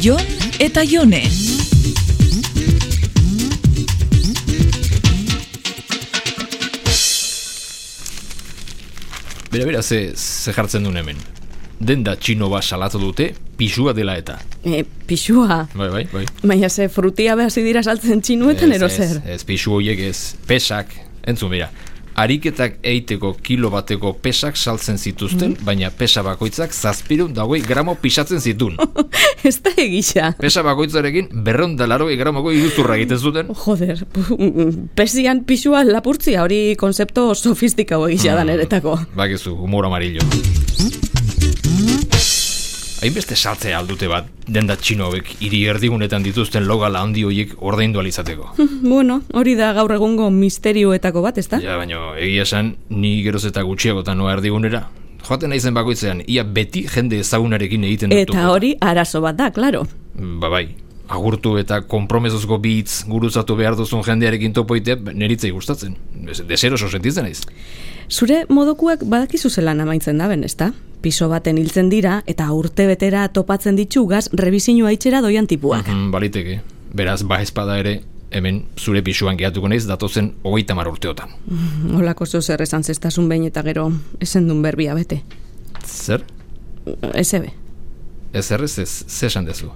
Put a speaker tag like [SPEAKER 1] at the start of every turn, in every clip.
[SPEAKER 1] Jon eta Jone.
[SPEAKER 2] Bera, bera, ze, ze jartzen duen hemen. Denda txino bat salatu dute, pisua dela eta.
[SPEAKER 3] E, pixua.
[SPEAKER 2] Bai, bai, bai.
[SPEAKER 3] Baina ze frutia behasi dira saltzen txinuetan ero zer.
[SPEAKER 2] Ez, ez, pisu horiek ez, pesak, entzun bera. Ariketak eiteko kilo bateko pesak saltzen zituzten, baina pesa bakoitzak zazpirun dagoi gramo pisatzen zitun.
[SPEAKER 3] Ez da egisa.
[SPEAKER 2] Pesa bakoitzarekin berrondalaroi gramoko iruzurra egiten zuten.
[SPEAKER 3] Joder, pu- mm, pesian pixua lapurtzia hori konzepto sofistikago egisa
[SPEAKER 2] Mm.
[SPEAKER 3] da niretako.
[SPEAKER 2] Bakizu, humor amarillo. Hainbeste saltzea aldute bat, denda txinoek hiri erdigunetan dituzten logala handi horiek ordaindu ahal izateko.
[SPEAKER 3] bueno, hori da gaur egungo misterioetako bat, ezta?
[SPEAKER 2] Ja, baino, egia esan, ni geroz eta gutxiagotan noa erdigunera. Joaten naizen bakoitzean, ia beti jende ezagunarekin egiten dut.
[SPEAKER 3] Eta hori arazo bat da, claro.
[SPEAKER 2] Ba bai, agurtu eta konpromezozko bitz guruzatu behar duzun jendearekin topoite neritzei gustatzen. Des- Deseroso sentitzen naiz.
[SPEAKER 3] Zure modokuak badakizu zelan amaitzen daben, ezta? Piso baten hiltzen dira eta urtebetera topatzen ditu gaz rebizinua itxera doian tipuak.
[SPEAKER 2] Mm, baliteke, beraz, ba espada ere, hemen zure pisuan gehatuko naiz datozen hogeita mar urteotan. Mm.
[SPEAKER 3] Olako zo zer esan zestasun behin eta gero esen dun berbia bete.
[SPEAKER 2] Zer?
[SPEAKER 3] Ezebe.
[SPEAKER 2] Ez errez ez, ze esan dezu.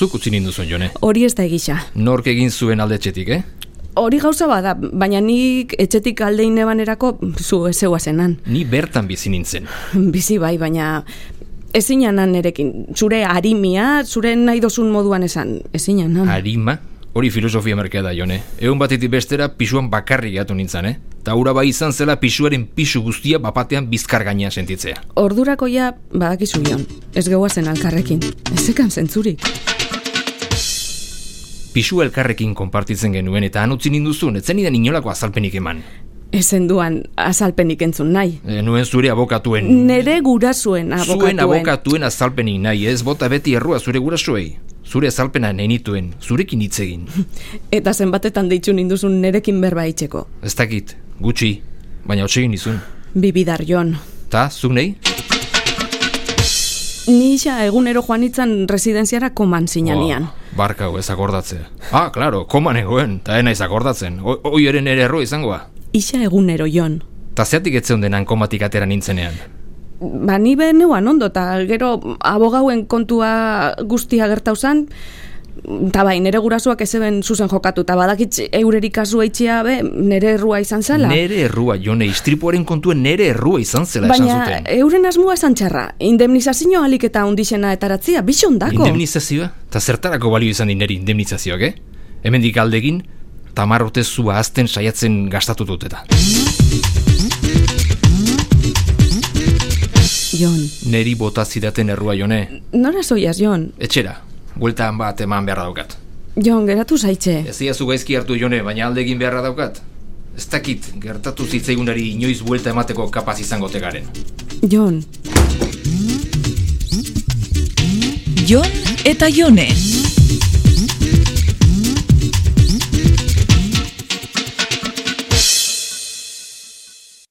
[SPEAKER 2] Zuk utzi ninduzun, jone.
[SPEAKER 3] Hori ez da egisa.
[SPEAKER 2] Nork egin zuen aldetxetik, eh?
[SPEAKER 3] Hori gauza bada, baina nik etxetik aldein ebanerako zu ezeua zenan.
[SPEAKER 2] Ni bertan bizi nintzen.
[SPEAKER 3] Bizi bai, baina ezinanan nerekin. Zure harimia, zure nahi dozun moduan esan. Ezinanan.
[SPEAKER 2] Arima, hori filosofia merkea da, jone. Egun batetik bestera pisuan bakarrik gatu nintzen, eh? Ta hura bai izan zela pisuaren pisu guztia bapatean bizkar gainean sentitzea.
[SPEAKER 3] Ordurako ja badakizu bion, ez gehuazen alkarrekin. Ez ekan zentzurik.
[SPEAKER 2] Pisu elkarrekin konpartitzen genuen eta han utzi ninduzun, etzen idan inolako azalpenik eman.
[SPEAKER 3] Ezen duan azalpenik entzun nahi.
[SPEAKER 2] E, nuen zure abokatuen...
[SPEAKER 3] Nere gurasuen Mm, abokatuen.
[SPEAKER 2] Zuen abokatuen azalpenik nahi, ez bota beti errua zure gurasoei. Zure azalpena nenituen, zurekin hitz egin.
[SPEAKER 3] Eta zenbatetan deitzu ninduzun nerekin berba itxeko.
[SPEAKER 2] Ez dakit, gutxi, baina hotsegin izun.
[SPEAKER 3] Bibidar jon.
[SPEAKER 2] Ta, zuk nahi?
[SPEAKER 3] Ni isa egunero joan itzan residenziara koman sinanean.
[SPEAKER 2] Ba, barkau, ez akordatzea. Ah, klaro, koman egoen, eta ena ez akordatzen. O- Hoi eren ere erro izangoa.
[SPEAKER 3] Isa egunero jon.
[SPEAKER 2] Ta zeatik etzeon denan komatik atera nintzenean.
[SPEAKER 3] Ba, ni be neuan ondo, eta gero abogauen kontua guztia gertau zan, eta bai, nere gurasoak ezeben zuzen jokatu, eta badakit eureri kasua itxia be, nere errua izan zala.
[SPEAKER 2] Nere errua, jone, istripuaren kontuen nere errua izan zela esan
[SPEAKER 3] Baina, eh,
[SPEAKER 2] zuten.
[SPEAKER 3] euren asmoa esan txarra, indemnizazio alik eta undixena etaratzia, bisondako.
[SPEAKER 2] Indemnizazioa? Ta zertarako balio izan dineri indemnizazioak, eh? Hemendik aldegin, tamar urtez zua azten saiatzen gastatu dut eta.
[SPEAKER 3] Jon,
[SPEAKER 2] Neri bota zidaten errua, jone.
[SPEAKER 3] nora zoiaz, Jon?
[SPEAKER 2] Etxera, bueltan bat eman beharra daukat.
[SPEAKER 3] Jon, geratu zaitxe.
[SPEAKER 2] Ez iazu gaizki hartu jone, baina aldegin beharra daukat. Ez dakit, gertatu zitzaigunari inoiz buelta emateko kapaz izango tegaren.
[SPEAKER 3] Jon,
[SPEAKER 1] Jon eta Jone.